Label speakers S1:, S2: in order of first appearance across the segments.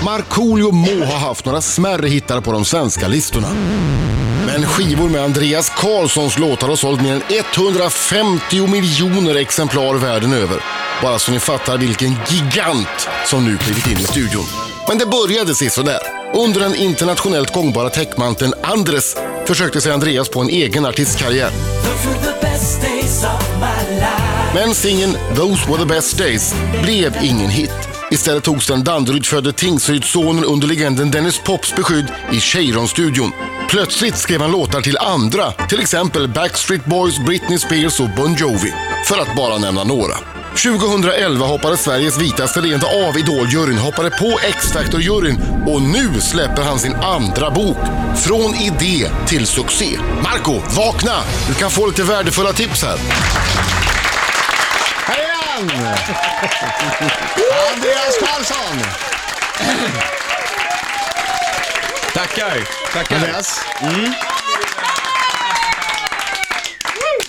S1: Markoolio må ha haft några smärre hittar på de svenska listorna. Men skivor med Andreas Karlssons låtar har sålt mer än 150 miljoner exemplar världen över. Bara så ni fattar vilken gigant som nu klivit in i studion. Men det började sisådär. Under den internationellt gångbara täckmanteln Andres försökte sig Andreas på en egen artistkarriär. Men singeln “Those were the best days” blev ingen hit. Istället togs den Danderyd-födde Tingsrydssonen under legenden Dennis Pops beskydd i Cheiron-studion. Plötsligt skrev han låtar till andra, till exempel Backstreet Boys, Britney Spears och Bon Jovi, för att bara nämna några. 2011 hoppade Sveriges vitaste leende av Idol-juryn, hoppade på X-Factor-juryn och nu släpper han sin andra bok. Från idé till succé. Marco, vakna! Du kan få lite värdefulla tips här.
S2: Här är han! Andreas Karlsson!
S3: Tackar! Tackar!
S2: Andreas? Mm.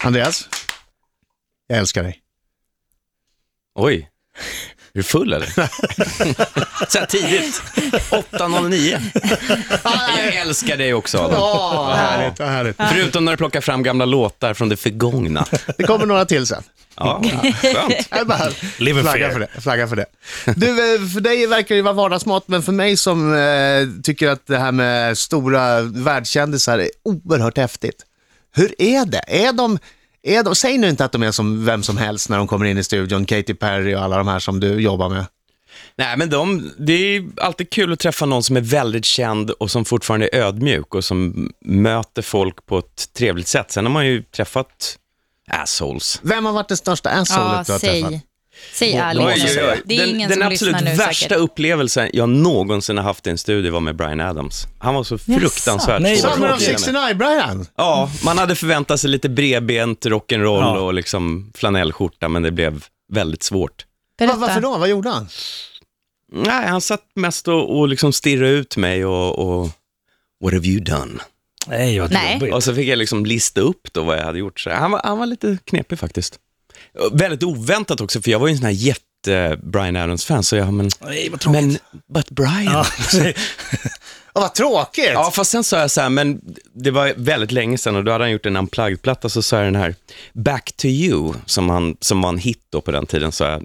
S2: Andreas? Jag älskar dig.
S3: Oj. Är du full eller? Så här tidigt. 8.09. Jag älskar dig också Adam.
S2: Åh, vad härligt, vad härligt.
S3: Förutom när du plockar fram gamla låtar från det förgångna.
S2: Det kommer några till sen.
S3: Ja, skönt.
S2: Jag bara
S4: Live in
S2: flaggar
S4: fear.
S2: för det. Flagga för det. Du, eh, för dig verkar det vara vardagsmat, men för mig som eh, tycker att det här med stora världskändisar är oerhört häftigt. Hur är det? Är de, är de, säg nu inte att de är som vem som helst när de kommer in i studion, Katy Perry och alla de här som du jobbar med.
S3: Nej, men de, det är alltid kul att träffa någon som är väldigt känd och som fortfarande är ödmjuk och som möter folk på ett trevligt sätt. Sen har man ju träffat assholes.
S2: Vem har varit det största
S5: Ja,
S2: assholet du har träffat?
S5: säg. Säg ärligt.
S3: Oj, oj, oj.
S5: Det är
S3: den
S5: ingen
S3: den
S5: som
S3: absolut
S5: lyssnar nu
S3: värsta
S5: säkert.
S3: upplevelsen jag någonsin har haft i en studio var med Brian Adams. Han var så fruktansvärt
S4: Nej,
S3: svår att
S4: Summer
S2: Summer
S4: of
S2: of
S3: få igenom.
S2: 69, Brian!
S3: Ja, man hade förväntat sig lite bredbent rock'n'roll
S4: Ja.
S3: och liksom flanellskjorta, men det blev väldigt svårt.
S5: Berätta.
S2: Va, varför då? Vad gjorde han?
S3: Nej, han satt mest och, och liksom stirrade ut mig och, och What have you done?
S4: Nej, vad
S5: Nej.
S4: jobbigt.
S3: Och så fick jag liksom lista upp då vad jag hade gjort. Så han, var, han var lite knepig faktiskt. Och Väldigt oväntat också, för jag var ju en sån här jätte-Brian Adams-fan, så jag, men,
S4: Nej, vad tråkigt.
S3: men, but Brian.
S4: Ja,
S3: Ja.
S2: Åh, vad tråkigt!
S3: fast sen sa jag så här, men det var väldigt länge sedan och då hade han gjort en unplugged-platta, så sa jag den här Back to you, som, han, som var en hit då på den tiden, sa jag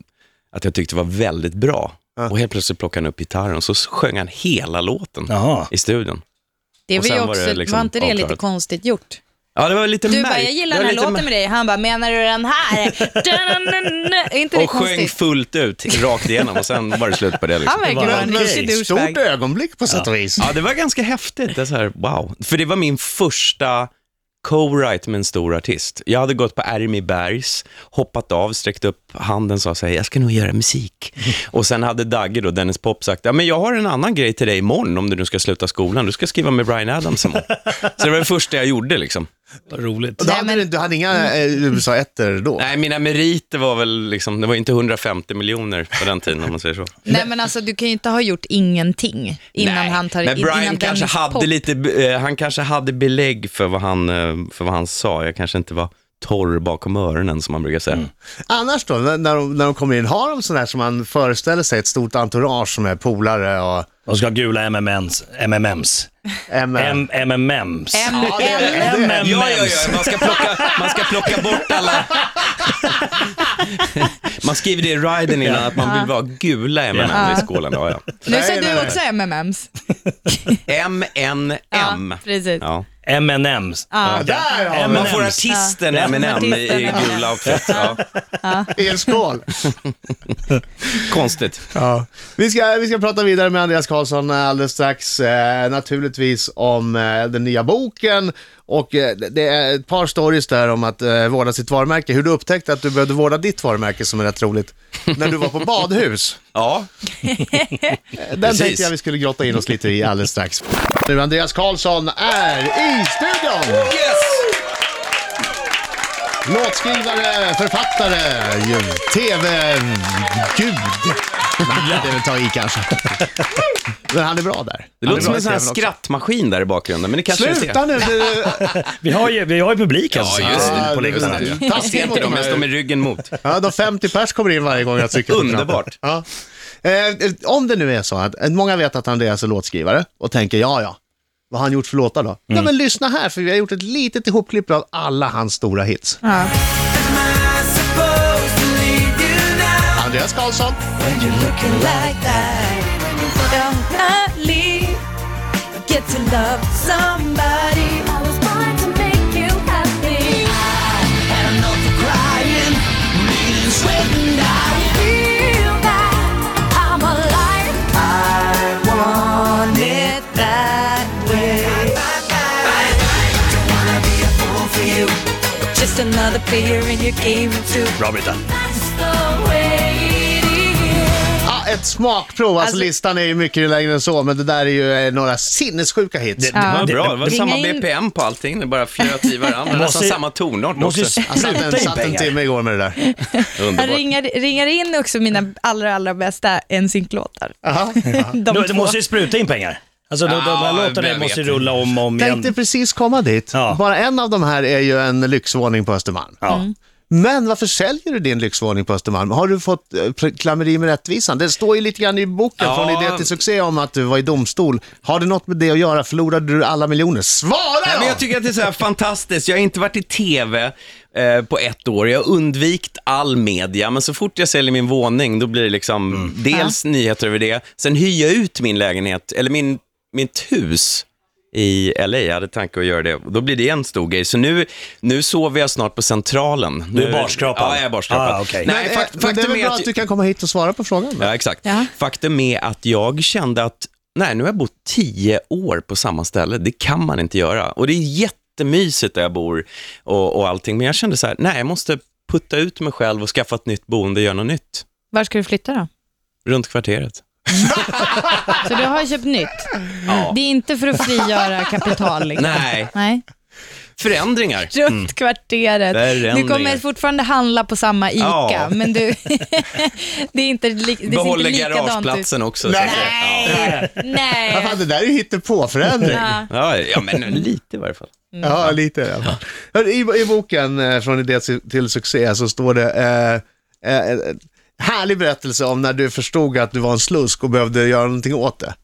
S3: att jag tyckte var väldigt bra. Och helt plötsligt plockade han upp gitarren och så sjöng han hela låten
S4: Jaha.
S3: i studion.
S5: Det
S3: Och
S5: var ju
S3: sen var
S5: också,
S3: det
S5: var,
S3: liksom
S5: inte det lite
S3: avklarat.
S5: konstigt gjort?
S3: Ja, det var lite
S5: Du
S3: märk-
S5: bara, jag
S3: det
S5: gillar den
S3: var
S5: här
S3: lite
S5: låten
S3: mär-
S5: med dig. Han bara, menar du den här? Da-na-na-na. Är inte det
S3: Och sjöng liksom.
S5: konstigt?
S3: fullt ut, rakt igenom och sen var det slut på det. Liksom.
S5: Han verkar
S4: Det var
S5: vara en
S4: en
S5: riktig
S4: grej.
S5: douchebag.
S2: Stort ögonblick på sätt och vis.
S3: Ja, det var ganska häftigt. Det är så här, wow. För det var min första co-write med en stor artist. Jag hade gått på Ermi Bergs, hoppat av, sträckt upp handen och sa så här, jag ska nog göra musik. Och sen hade Dagge då, Dennis Pop, sagt, ja men jag har en annan grej till dig imorgon om du nu ska sluta skolan, du ska skriva med Brian Adams imorgon. Så det var det första jag gjorde liksom.
S4: Vad roligt.
S2: Och Då hade du, du hade inga
S5: Mm.
S2: eh, USA-ettor då?
S3: Nej, mina meriter var väl liksom, det var ju inte 150 miljoner på den tiden om man säger så.
S5: Nej men alltså du kan ju inte ha gjort ingenting innan
S3: Nej,
S5: han tar
S3: Men Brian
S5: innan
S3: kanske
S5: Dennis
S3: hade
S5: Pop-
S3: lite, eh, han kanske hade belägg för vad, han, eh, för vad han sa. Jag kanske inte var torr bakom öronen som man brukar säga.
S2: Annars då, när när de, när de kommer in, har de sådär som man föreställer sig, ett stort entourage som är polare och
S4: De ska ha gula MMMs. MMMs.
S2: M-
S4: M- MMMs.
S5: M-
S2: Ja, det är-
S5: M-
S2: det är-
S4: MMMs.
S3: Ja, ja, ja, man ska plocka, man ska plocka bort alla... man skriver det i riden innan att man vill vara gula M&M i skålen. Ja, ja.
S5: Nu
S2: Nej,
S5: säger
S2: nej, nej.
S5: du också MMMs.
S3: MNM.
S5: Ja, precis.
S3: Ja.
S4: MNMs.
S2: Ja, där har
S3: Man
S4: M&Ms.
S3: får artisten
S5: Ja,
S3: M&M i i
S5: artisten.
S3: gula outfit. Ja.
S2: vi det. I en skål.
S3: Konstigt.
S2: Ja. Vi, ska, vi ska prata vidare med Andreas Karlsson eh, alldeles strax, eh, naturligtvis om eh, den nya boken och eh, det- det är ett par stories där om att eh, vårda sitt varumärke, hur du upptäckte att du behövde vårda ditt varumärke som är rätt roligt, när du var på badhus.
S3: Ja,
S2: Den
S3: Precis.
S2: tänkte jag vi skulle grotta in oss lite i alldeles strax. Nu Andreas Karlsson är i studion! Låtskrivare, författare, ju- tv-gud. Nej, det är väl ta i kanske. Men han är bra där.
S3: det
S2: Han är
S3: låter
S2: bra
S3: som en
S2: i
S3: sån här
S2: TV:n också.
S3: skrattmaskin där i bakgrunden, men det kanske är det.
S2: Sluta nu! du-
S4: Vi har ju, vi har ju publik alltså.
S3: Ja, just det.
S4: På läktaren.
S2: Ja, det-
S3: Jag ser
S2: Taskig mot
S3: inte
S2: de
S3: dem, jag står
S2: här.
S3: med ryggen mot.
S2: Ja, de 50 pers kommer in varje gång jag trycker på knappen.
S3: Underbart.
S2: Ja. Eh, eh, om det nu är så att eh, många vet att Andreas är låtskrivare och tänker ja, ja, vad har han gjort för låtar då? Ja, men lyssna här, för vi har gjort ett litet ihopklipp av alla hans stora hits.
S6: Ja.
S2: Andreas Karlsson,
S6: Get to love somebody
S7: I was born to make you happy. I feel that I'm alive.
S6: on it that way. Just another player in your game too.
S4: Bra Britta.
S7: That's the way it is.
S2: ja, ett smakprov, alltså,
S6: Alltså-
S2: listan är ju mycket längre än så, men det där är ju eh, några sinnessjuka hits.
S4: Det-
S3: Det var
S4: Ja.
S3: bra, det var
S5: Ringa
S3: samma
S5: in-
S3: BPM på allting, det bara flöt i varandra,
S4: Måste-
S3: nästan samma tonart
S4: Måste ju
S3: också.
S2: Jag satt en,
S4: spruta in
S2: satt en
S4: pengar.
S2: timme igår med det där.
S5: Han
S3: Underbart.
S5: ringar, ringar in också mina allra, allra bästa NSYNC-låtar.
S2: Aha.
S5: De
S4: Du, du
S5: två.
S4: måste ju spruta in pengar. Alltså, de, de, de
S3: Ja,
S4: här
S3: jag
S4: låtarna måste ju
S3: vet.
S4: rulla om och om igen.
S2: Tänkte precis komma dit.
S4: Ja.
S2: Bara en av de här är ju en lyxvåning på Östermalm.
S4: Ja.
S2: Men varför säljer du din lyxvåning på Östermalm? Har du fått eh, pr- klammeri med rättvisan? Det står ju lite grann i boken
S3: Ja.
S2: från idé till succé om att du var i domstol. Har det något med det att göra? Förlorade du alla miljoner? Svara
S3: Nej,
S2: då!
S3: men jag tycker att det är så här fantastiskt. Jag har inte varit i TV eh, på ett år. Jag har undvikit all media, men så fort jag säljer min våning, då blir det liksom
S2: Mm.
S3: dels nyheter över det, sen hyr jag ut min lägenhet, eller min, mitt hus i LA. Jag hade tanke att göra det. Då blir det en stor grej. Så nu, nu sover jag snart på Centralen.
S4: Du är
S3: Nu-
S4: barskrapad?
S3: Ja, jag är barskrapad.
S4: Ah, okej.
S2: Men,
S3: Nej,
S2: eh,
S3: fakt-
S2: men det är
S3: faktum
S2: väl
S3: är
S2: bra
S3: att...
S2: att du kan komma hit och svara på frågan? då?
S3: Ja, exakt.
S5: Ja.
S3: Faktum är att jag kände att, nej, nu har jag bott tio år på samma ställe. Det kan man inte göra. Och det är jättemysigt där jag bor och, och allting, men jag kände så här, nej, jag måste putta ut mig själv och skaffa ett nytt boende, göra något nytt.
S5: Var ska du flytta då?
S3: Runt kvarteret.
S5: Så du har köpt nytt? Det är inte för att frigöra kapital liksom.
S3: Nej,
S5: Nej.
S3: förändringar.
S5: Runt kvarteret. Du
S3: Förändringar.
S5: kommer fortfarande handla på samma ICA,
S3: Ja.
S5: men du, det är inte, li, det ser inte
S3: Behåller
S5: likadant ut.
S3: garageplatsen också. så att det-
S5: Nej,
S2: Vad
S5: nej.
S2: fan, det där är ju hittepåförändring.
S5: Ja.
S3: Ja, ja, men lite i varje fall.
S2: Ja, lite i alla fall. Hör, I, I boken eh, Från idé till- till succé så står det eh, eh, eh, härlig berättelse om när du förstod att du var en slusk och behövde göra någonting åt det.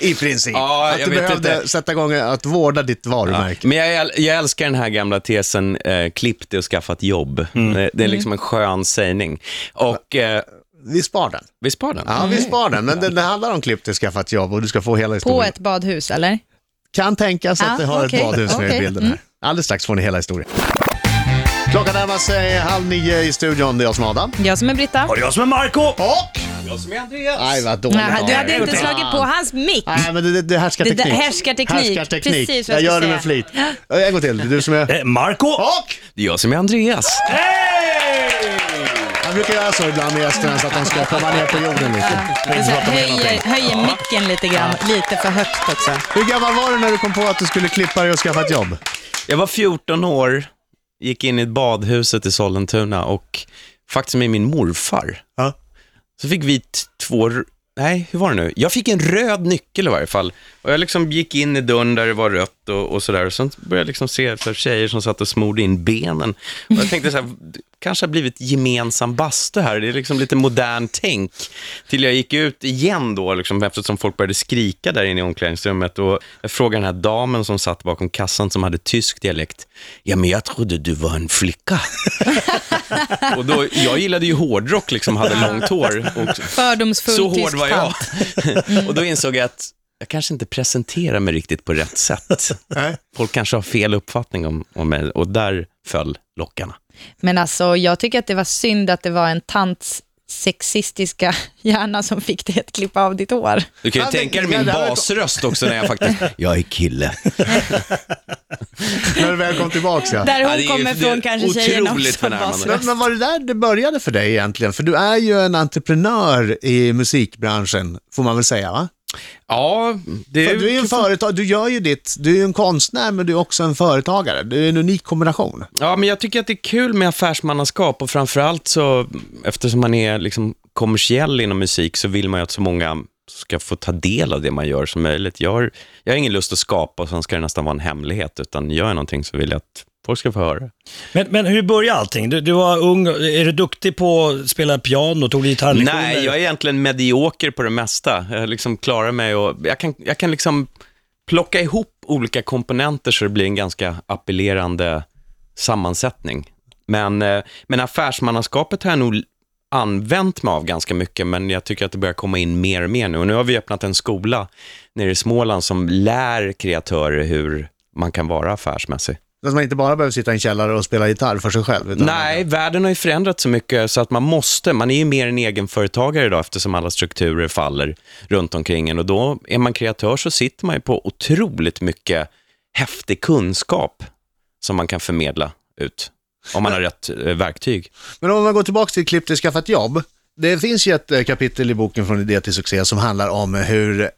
S2: I princip.
S3: Ja,
S2: att
S3: jag
S2: du
S3: vet
S2: behövde
S3: inte.
S2: sätta igång att vårda ditt varumärke.
S3: Men jag, äl- jag älskar den här gamla tesen, eh, klipp dig och skaffa ett jobb. Eh,
S5: Mm.
S3: Det är liksom en skön sägning. Och eh,
S2: Vi spar den.
S3: vi sparar den.
S2: Ja, vi spar den. Men det, det handlar om klipp till skaffa ett jobb och du ska få hela
S5: På
S2: historien.
S5: ett badhus eller?
S2: Kan tänkas att
S5: Ja,
S2: det har
S5: okej,
S2: ett badhus med i
S5: okej, Mm.
S2: bilden här. Alldeles strax får ni hela historien. Klockan närmar sig halv nio i studion. Det är jag som är Adam.
S5: Jag som är Britta.
S4: Och jag som är Marco
S2: Och...
S3: Jag som är Andreas.
S2: Nej, vad dåligt.
S5: Nej, du hade inte
S4: Utan-
S5: slagit på hans mick.
S2: Nej, men det, det, det härskar
S5: Det
S2: teknik.
S5: där- härskarteknik.
S2: Härskarteknik.
S5: Precis vad
S2: jag
S5: jag
S2: gör det
S5: skulle
S2: med flit. En gång till. Det är Du som är...
S4: Eh, Marco
S2: Och!
S3: Det är jag som är Andreas.
S2: Jag brukar göra så ibland med gästerna så att de ska komma ner på jorden lite.
S5: Du så här höjer, höjer micken lite grann, lite för högt också.
S2: Hur gammal var du när du kom på att du skulle klippa dig och skaffa ett jobb?
S3: Jag var 14 år, gick in i badhuset i Sollentuna och faktiskt med min morfar.
S2: Ja.
S3: Så fick vi t- två, r- nej hur var det nu? Jag fick en röd nyckel i varje fall. Och jag liksom gick in i dörren där det var rött och, och sådär. Och sen började jag liksom se så här, tjejer som satt och smorde in benen. Och jag tänkte så här, det kanske har blivit gemensam bastu här. Det är liksom lite modern tänk. Till jag gick ut igen då, liksom, eftersom folk började skrika där inne i omklädningsrummet. Och jag frågade den här damen som satt bakom kassan som hade tysk dialekt. Ja, men jag trodde du var en flicka. och då, jag gillade ju hårdrock, liksom, hade långt hår. Och
S5: Fördomsfull
S3: så hård
S5: tysk
S3: var jag.
S5: tant.
S3: och då insåg jag att jag kanske inte presenterar mig riktigt på rätt sätt. Folk kanske har fel uppfattning om, om mig och där föll lockarna.
S5: Men alltså, jag tycker att det var synd att det var en tants sexistiska hjärna som fick dig att klippa av ditt hår.
S3: Du kan ju
S2: Ja, men-
S3: tänka dig
S2: men
S3: min
S2: det här var-
S3: basröst också när jag faktiskt, jag är kille.
S2: När du väl kom tillbaka ja.
S5: Där
S3: Ja,
S5: hon
S3: det är
S5: kommer
S3: ju
S5: från kanske tjejerna
S3: otroligt
S5: också.
S3: förnärmande.
S5: Bas-
S2: Men, men var det där det började för dig egentligen? För du är ju en entreprenör i musikbranschen, får man väl säga va?
S3: Ja, det
S2: För du är ju en företag, du gör ju ditt, du är ju en konstnär men du är också en företagare. Du är en unik kombination.
S3: Ja, men jag tycker att det är kul med affärsmannaskap och framförallt så, eftersom man är liksom kommersiell inom musik, så vill man ju att så många ska få ta del av det man gör som möjligt. Jag har, jag har ingen lust att skapa och sen ska det nästan vara en hemlighet, utan gör jag någonting så vill jag att Folk ska få höra det.
S4: Men, men hur började allting? Du, du var ung, är du duktig på att spela piano? Tog du gitarrlektioner?
S3: Nej, jag är egentligen medioker på det mesta. Jag liksom klarar mig och jag kan, jag kan liksom plocka ihop olika komponenter så det blir en ganska appellerande sammansättning. Men, eh, men affärsmannaskapet har jag nog använt mig av ganska mycket, men jag tycker att det börjar komma in mer och mer nu. Och nu har vi öppnat en skola nere i Småland som lär kreatörer hur man kan vara affärsmässig.
S2: Så att man inte bara behöver sitta i en källare och spela gitarr för sig själv. utan-
S3: Nej, världen har ju förändrats så mycket så att man måste, man är ju mer en egenföretagare idag eftersom alla strukturer faller runt omkring en och då är man kreatör så sitter man ju på otroligt mycket häftig kunskap som man kan förmedla ut, om man har rätt eh, verktyg.
S2: Men om man går tillbaka till klipp till skaffat jobb. Det finns ju ett eh, kapitel i boken Från idé till succé som handlar om hur, eh,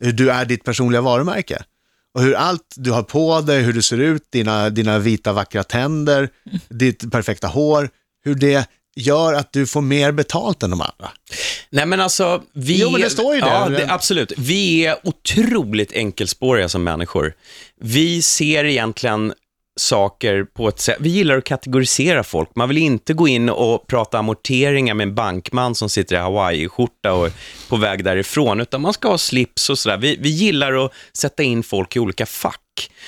S2: hur du är ditt personliga varumärke. Och hur allt du har på dig, hur du ser ut, dina, dina vita vackra tänder, ditt perfekta hår, hur det gör att du får mer betalt än de andra.
S3: Nej men alltså, vi...
S2: Jo, men det står ju det.
S3: Ja, det, absolut. Vi är otroligt enkelspåriga som människor. Vi ser egentligen saker på ett sätt, vi gillar att kategorisera folk. Man vill inte gå in och prata amorteringar med en bankman som sitter i Hawaii-skjorta och är på väg därifrån, utan man ska ha slips och sådär. Vi, vi gillar att sätta in folk i olika fack.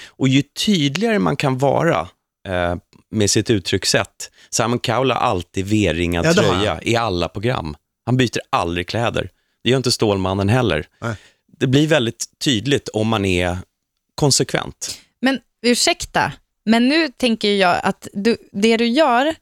S3: Och ju tydligare man kan vara eh, med sitt uttryckssätt, Simon Cowell har alltid V-ringad
S2: Ja, det har han.
S3: tröja i alla program. Han byter aldrig kläder. Det gör inte Stålmannen heller.
S2: Nej.
S3: Det blir väldigt tydligt om man är konsekvent.
S5: Men ursäkta, men nu tänker jag att du, det du gör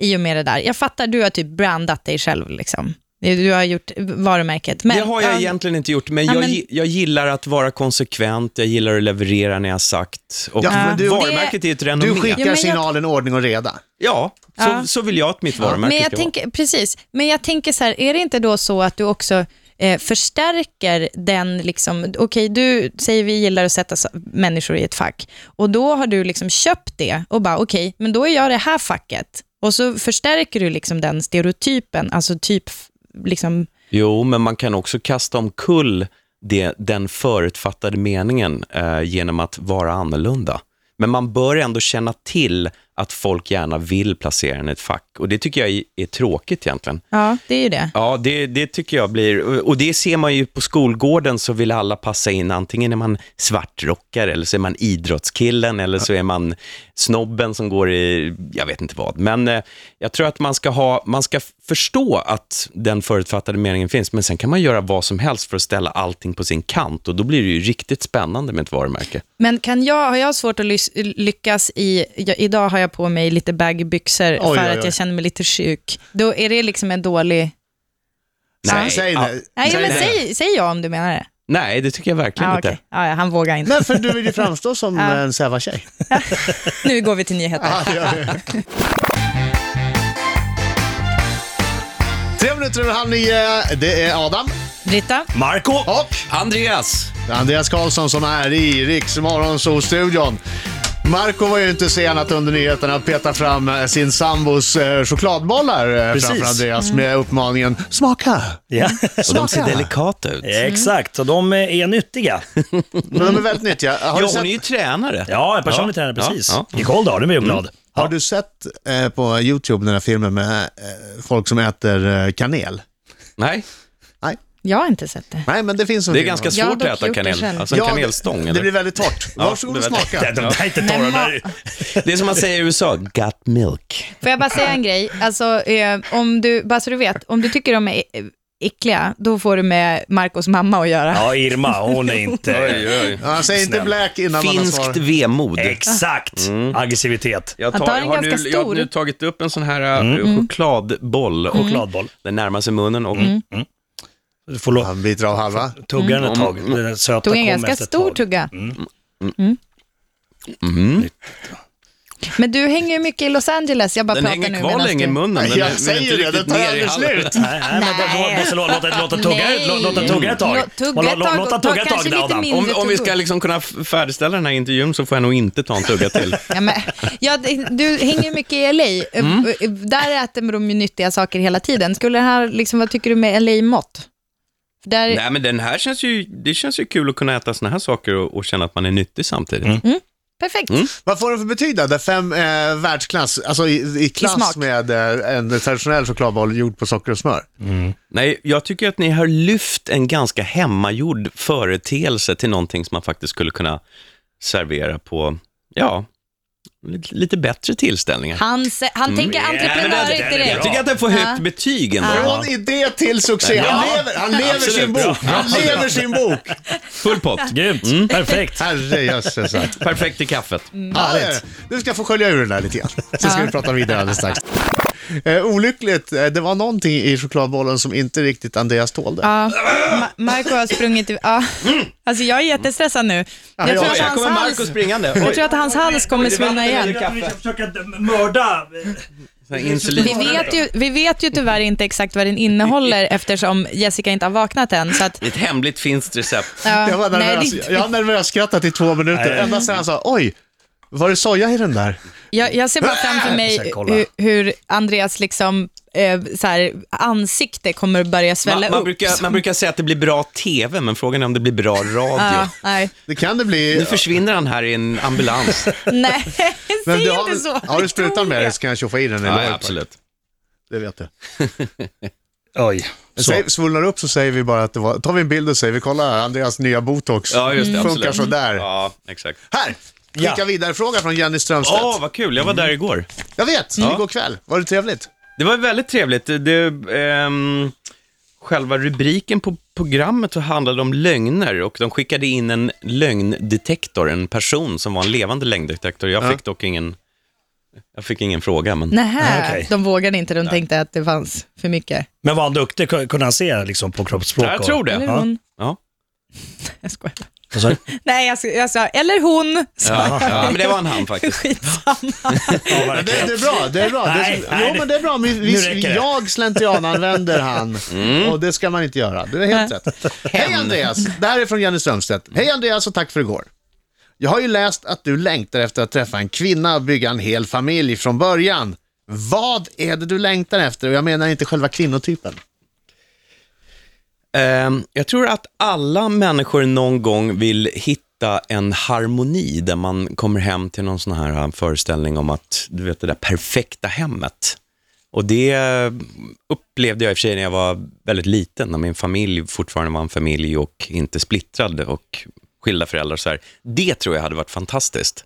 S5: i och med det där, jag fattar du har typ brandat dig själv liksom. Du du har gjort varumärket. Men,
S3: det har jag
S5: Ja,
S3: egentligen inte gjort, men,
S5: Ja,
S3: jag,
S5: men-
S3: gi- jag gillar att vara konsekvent, jag gillar att leverera när jag har sagt. Och
S2: Ja, men du-
S3: varumärket är ju ett
S2: Du
S3: renommé.
S2: skickar
S5: Ja, men jag-
S2: signalen ordning och reda.
S3: Ja, så,
S5: Ja.
S3: så vill jag att mitt varumärke
S5: Men jag
S3: ska vara.
S5: tänker, precis, men jag tänker så här, är det inte då så att du också eh, förstärker den, liksom, okej du säger vi gillar att sätta s- människor i ett fack och då har du liksom köpt det och bara okej, men då är jag det här facket och så förstärker du liksom den stereotypen, alltså typ f- liksom
S3: Jo, men man kan också kasta omkull det, den förutfattade meningen eh, genom att vara annorlunda. Men man bör ändå känna till att folk gärna vill placera en i ett fack. Och det tycker jag är, är tråkigt egentligen.
S5: Ja, det är ju det.
S3: Ja, det, det tycker jag blir... Och det ser man ju på skolgården så vill alla passa in. Antingen är man svartrockare eller så är man idrottskillen eller så är man snobben som går i... Jag vet inte vad. Men eh, jag tror att man ska, ha, man ska förstå att den förutfattade meningen finns. Men sen kan man göra vad som helst för att ställa allting på sin kant. Och då blir det ju riktigt spännande med ett varumärke.
S5: Men kan jag, har jag svårt att lys- lyckas i, jag, idag har jag på mig lite baggy byxor
S2: Oj,
S5: för
S2: oj,
S5: att
S2: oj.
S5: jag känner mig lite sjuk. Då är det liksom en dålig...
S3: Nej,
S2: Säg
S3: ja,
S2: det.
S5: Nej, men
S2: det.
S5: säg, säg ja om du menar det.
S3: nej det tycker jag verkligen
S5: Ah,
S3: inte.
S5: okej. ah, ja, han vågar inte.
S2: Men för du vill ju framstå som en säva-tjej.
S5: Nu går vi till nyheter.
S2: Ah. Tre minuter över halv nio, det är Adam
S5: Britta,
S4: Marco!
S2: och
S3: Andreas!
S2: Andreas Karlsson som är i Riks Morgonzoo-studion. Marco var ju inte sen att under nyheterna peta fram eh, sin sambos eh, chokladbollar eh,
S4: Precis.
S2: framför Andreas med uppmaningen “smaka”.
S4: Ja.
S3: Mm. Och de ser
S2: Smaka.
S3: delikata ut.
S4: Exakt, och de är nyttiga.
S2: Men de är väldigt nyttiga. Har,
S3: Ja,
S2: du,
S3: hon är
S2: sett,
S3: ju tränare.
S4: Ja, en personlig tränare,
S3: ja,
S4: precis.
S3: ja. Mm.
S4: Nicole då, nu blir jag glad.
S2: har du sett eh, på YouTube den här filmen med eh, folk som äter eh, kanel?
S3: Nej.
S2: Nej,
S5: jag har inte sett det.
S2: Nej men det finns en
S3: Det är
S2: film.
S3: ganska
S5: Jag har
S3: svårt
S5: Mm. dock
S3: att äta
S5: gjort det
S3: kanel,
S5: själv.
S3: alltså en
S2: Ja,
S3: kanelstång.
S2: det,
S3: eller?
S2: det blir väldigt torrt.
S3: Ja,
S2: Varsågod
S3: det
S2: och
S3: är väldigt-
S4: De
S2: smaka.
S4: där är inte torra, de där är-
S3: Det är som man säger i USA, gut milk.
S5: Får jag bara säga en grej? Alltså, eh, om du, bara så du vet, om du tycker de är eh, äckliga, då får du med Marcos mamma att göra.
S4: Ja, Irma, hon är inte...
S2: Ja, säg inte
S4: Snäll.
S2: black innan man har
S3: Finskt
S2: svarat.
S3: vemod.
S4: Exakt!
S3: Mm.
S4: Aggressivitet.
S3: Jag,
S5: Han tar en
S3: jag, har nu,
S5: ganska
S3: jag har
S5: stor.
S3: nu tagit upp en sån här mm. chokladboll och
S5: Mm.
S4: Chokladboll.
S3: den närmar sig munnen och
S4: Du får lov-
S2: Han biter av halva.
S4: tugga den ett
S3: Mm.
S4: tag. Den söta
S5: Tog en
S4: kom
S5: ganska
S4: efter ett
S5: stor
S4: tag.
S5: tugga. Mm.
S3: Mm.
S5: Men du hänger ju mycket i Los Angeles. Jag bara
S3: den
S5: pratar
S3: hänger
S5: nu
S3: kvar
S5: medan
S3: länge
S5: du-
S3: i munnen. Den är- den är
S2: Jag
S3: inte
S2: säger ju det, den
S3: riktigt
S2: tar
S3: ner i
S2: aldrig
S3: hallen.
S2: slut.
S4: Nej, nej, men man måste låta, låta, låta tugga,
S5: Nej.
S4: låta, låta tugga ett tag.
S5: Låt- tugga
S4: Man lå-
S5: ett tag
S4: Låta
S5: och
S4: tugga ett
S5: kanske
S4: tag,
S5: lite
S4: Adam.
S5: mindre.
S3: Om, om vi ska liksom kunna f- färdigställa den här intervjun så får jag nog inte ta en tugga till.
S5: Ja, men, ja, det- du hänger mycket i LA. Eh, eh,
S3: Mm.
S5: Där äter de ju nyttiga saker hela tiden. Skulle det här, liksom, vad tycker du med LA-mått? Där,
S3: Nej men den här känns ju, det känns ju kul att kunna äta såna här saker och, och känna att man är nyttig samtidigt.
S5: perfekt.
S2: Vad får den för betydande? Fem eh, världsklass, alltså i, i klass
S5: smak.
S2: med eh, en traditionell chokladboll gjord på socker och smör.
S3: Nej, jag tycker att ni har lyft en ganska hemmagjord företeelse till någonting som man faktiskt skulle kunna servera på, ja, lite, lite bättre tillställningar.
S5: Han, se- han tänker
S3: Ja, men
S5: entreprenörigt
S4: den är
S5: direkt.
S3: Jag tycker att den får högt
S5: Ja.
S3: betyg ändå.
S2: Från idé till succé. Han lever, han lever
S3: Absolut,
S2: sin
S3: bra.
S2: bok. Han lever sin bok.
S3: Full pott.
S4: Grymt,
S3: Mm.
S4: perfekt.
S2: Herrejösses. alltså.
S3: Perfekt i kaffet.
S2: Ja, det är det. Du ska få skölja ur den där lite grann. Så ska vi prata vidare alldeles strax. Eh, olyckligt, eh, det var någonting i chokladbollen som inte riktigt Andreas tålde.
S5: Ja, Ma- Marco har sprungit i... Ja. Alltså jag är jättestressad nu. Jag tror att
S3: Här
S5: hans
S3: kommer Marco
S5: hals,
S3: springande.
S5: jag tror att hans hals kommer svullna igen.
S4: Jag vill försöka mörda... eh,
S3: Så här Insulin.
S5: Vi vet, ju, vi vet ju tyvärr inte exakt vad den innehåller eftersom Jessica inte har vaknat än. Så att,
S3: Ett hemligt finskt recept.
S5: ja,
S2: Jag var
S5: nej, det är
S2: nervös.
S5: inte-
S2: Jag har nervös skrattat i två minuter. Ända sedan han sa oj, var det soja i den där?
S5: Jag, jag ser bara framför
S4: Sen
S5: mig
S4: kolla.
S5: hur, hur Andreas liksom, eh, så här, ansikte kommer att börja svälla
S3: Man, man,
S5: upp.
S3: brukar, man brukar säga att det blir bra TV, men frågan är om det blir bra radio.
S5: Ja, nej,
S2: Det kan det
S3: Nu
S2: bli.
S3: försvinner han här i en ambulans.
S5: nej
S2: Men
S5: säg
S2: du har,
S5: inte så.
S2: har du sprutan med dig så kan jag tjoffa i den i
S3: Ja,
S2: låret.
S3: absolut.
S2: Det vet du.
S4: Oj. Så.
S2: Säg, svullnar upp så säger vi bara att det var, tar vi en bild och säger vi kolla Andreas nya botox. Mm.
S3: Ja, just det.
S2: Funkar
S3: Absolut.
S2: sådär.
S3: Ja, exakt.
S2: Här! Skicka
S4: Ja.
S2: vidare fråga från Jenny Strömstedt.
S3: Åh, vad Mm. kul. Jag var där igår.
S2: Jag vet, igår kväll. Var det trevligt?
S3: Det var väldigt trevligt. Det, det, ehm, själva rubriken på programmet så handlade om lögner och de skickade in en lögndetektor, en person som var en levande lögndetektor. Jag fick dock ingen, jag fick ingen fråga, men
S5: Nähä,
S4: Okej.
S5: de vågade inte. De tänkte att det fanns för mycket.
S4: Men var han duktig? Kunde han se liksom, på kroppsspråk?
S3: jag tror det.
S5: Eller
S4: Ja.
S5: hon.
S3: Ja.
S5: Jag skojar.
S4: Och så,
S5: Nej, jag, sk- jag sa, eller hon. Så,
S3: Ja, ja, men det var en han faktiskt.
S5: skitsamma.
S4: ja,
S2: Men
S4: verkligen.
S2: det, det är bra, det är bra.
S4: Nej,
S2: det,
S4: nej,
S2: jo, men det är bra. Men
S4: nu
S2: vi,
S4: räcker det.
S2: jag slentriananvänder han och det ska man inte göra. Du är helt rätt. Hej Andreas, det här är från Jenny Strömstedt. Hej Andreas och tack för igår. Jag har ju läst att du längtar efter att träffa en kvinna och bygga en hel familj från början. Vad är det du längtar efter? Och jag menar inte själva kvinnotypen.
S3: Ehm, jag tror att alla människor någon gång vill hitta en harmoni där man kommer hem till någon sån här eh, föreställning om att, du vet det där perfekta hemmet. Och det eh, upplevde jag i och för sig när jag var väldigt liten, när min familj fortfarande var en familj och inte splittrad och skilda föräldrar och så här. Det tror jag hade varit fantastiskt.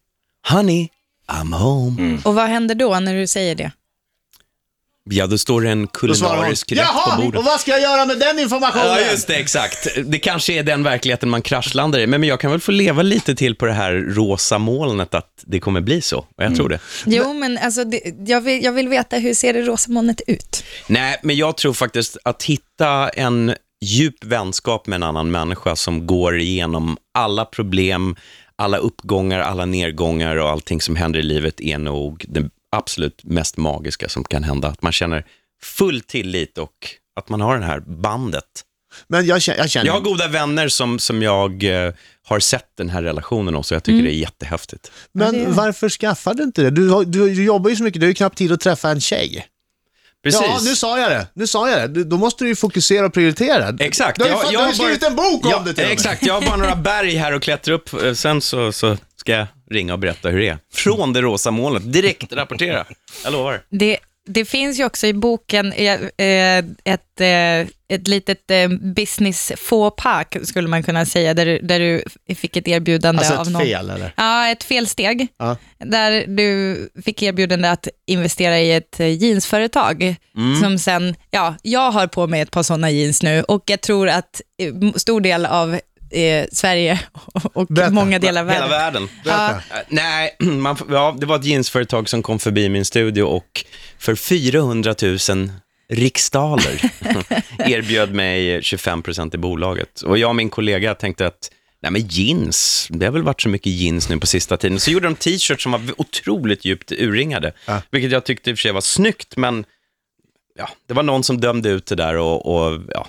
S3: Honey, I'm home.
S2: Mm.
S5: Och vad händer då när du säger det?
S3: Ja, då står det en
S2: Då svarar hon,
S3: kulinarisk rätt på
S2: jaha,
S3: bordet.
S2: och vad ska jag göra med den informationen?
S3: Ja, just det, exakt. Det kanske är den verkligheten man kraschlandar i, men men jag kan väl få leva lite till på det här rosa molnet att det kommer bli så, och jag tror det.
S5: Jo, men alltså, det, jag, vill, jag vill veta hur ser det rosa molnet ut?
S3: Nej, men jag tror faktiskt att hitta en djup vänskap med en annan människa som går igenom alla problem, alla uppgångar, alla nedgångar och allting som händer i livet är nog det absolut mest magiska som kan hända. Att man känner full tillit och att man har det här bandet.
S2: Men jag känner, jag känner
S3: Jag har goda vänner som, som jag eh, har sett den här relationen hos och jag
S2: Mm.
S3: tycker det är jättehäftigt.
S2: men varför skaffade du inte det? Du, har- du, du jobbar ju så mycket, du har ju knappt tid att träffa en tjej.
S3: Precis.
S2: Ja, nu sa jag det. Nu sa jag det. Du- Då måste du ju fokusera och prioritera.
S3: Exakt.
S2: Du har ju,
S3: Jag-
S2: fan,
S3: jag
S2: du har
S3: har
S2: ju skrivit
S3: bara-
S2: en bok om
S3: Ja,
S2: det till och med.
S3: exakt, jag har bara några berg här att klättra upp. eh, Sen så, så ska jag ringa och berätta hur det är. Från det rosa molnet, direkt rapportera. Jag lovar.
S5: Det, det finns ju också i boken eh, eh, ett, eh, ett litet eh, business faux pas, skulle man kunna säga, där, du- där du fick ett erbjudande
S2: Alltså
S5: av
S2: ett
S5: någon.
S2: fel eller?
S5: Ja, ett felsteg.
S2: Ja.
S5: Där du fick erbjudande att investera i ett eh, jeansföretag.
S3: Mm.
S5: Som sen, ja, jag har på mig ett par sådana jeans nu och jag tror att eh, m- stor del av eh, Sverige och, och
S2: Berätta.
S5: många delar av
S3: Hela
S5: världen.
S3: världen.
S2: Berätta.
S3: Eh, Nej, man, f- ja, det var ett jeansföretag som kom förbi min studio och för 400 000 riksdaler erbjöd mig 25% i bolaget. Och jag och min kollega tänkte att Nej men jeans, det har väl varit så mycket jeans nu på sista tiden. Så gjorde de t-shirts som var otroligt djupt urringade, vilket jag tyckte i och för sig var snyggt, men ja, det var någon som dömde ut det där och, och ja.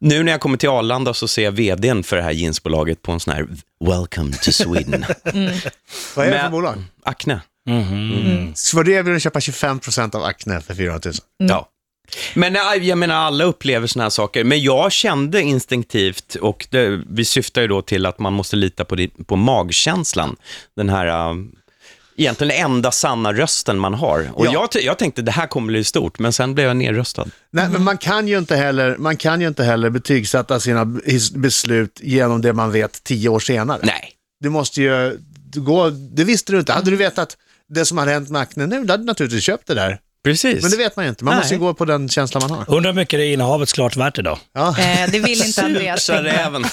S3: Nu när jag kommer till Arlanda så ser jag vdn för det här jeansbolaget på en sån här “Welcome to Sweden”.
S2: Vad är det för
S3: Men-
S2: bolag?
S3: Acne.
S5: Mm.
S2: Så var det erbjudandet att köpa 25% av Acne för 400 000?
S3: Ja. Men nej, jag menar, alla upplever såna här saker. Men jag kände instinktivt, och det, vi syftar ju då till att man måste lita på, det, på magkänslan. Den här, äh, egentligen den enda sanna rösten man har. Och
S2: Ja.
S3: jag, t- jag tänkte, det här kommer bli stort, men sen blev jag nedröstad.
S2: Nej,
S5: Mm.
S2: men man kan ju inte heller, man kan ju inte heller betygsätta sina b- his- beslut genom det man vet tio år senare.
S3: Nej.
S2: Du måste ju gå, det visste du inte. Hade
S5: Mm.
S2: du vetat det som har hänt med Acne nu, då hade du naturligtvis köpt det där.
S3: Precis.
S2: Men det vet man ju inte. Man
S3: Nej.
S2: måste ju gå på den känsla man har.
S4: Undrar hur mycket det är innehavet klart värt idag.
S2: Ja.
S5: Eh, det vill inte Andreas.
S3: Tjusar
S5: tänka.
S3: även.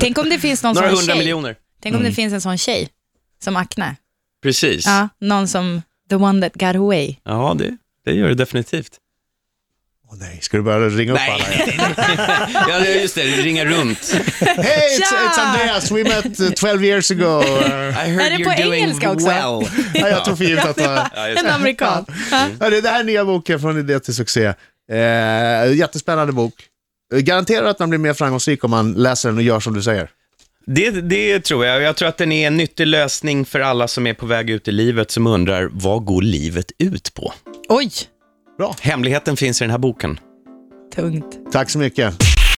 S5: Tänk om det finns någon
S3: Några
S5: sån
S3: hundra
S5: tjej.
S3: miljoner.
S5: Tänk
S2: Mm.
S5: om det finns en sån tjej som Acne.
S3: Precis. Ja,
S5: Ja, någon som the one that got away.
S3: det, det gör det definitivt.
S2: Åh nej, ska du börja ringa upp alla?
S3: Nej. ja, det är just det, ringa runt.
S2: Hey, it's,
S5: Tja!
S2: it's Andreas, we met uh, 12 years ago.
S3: I
S2: Uh,
S3: heard
S5: Är det på
S3: you're doing
S5: engelska också?
S3: well.
S2: ja, jag tog för givet att det var...
S3: Ja, just
S5: En
S3: det.
S5: amerikan. Ja.
S2: Hörru, det här är nya boken från idé till succé. Eh, jättespännande bok. Eh, Garanterar att man blir mer framgångsrik om man läser den och gör som du säger.
S3: Det, det tror jag. Jag tror att den är en nyttig lösning för alla som är på väg ut i livet som undrar, vad går livet ut på?
S5: Oj,
S2: Bra.
S3: Hemligheten finns i den här boken.
S5: tungt.
S2: Tack så mycket.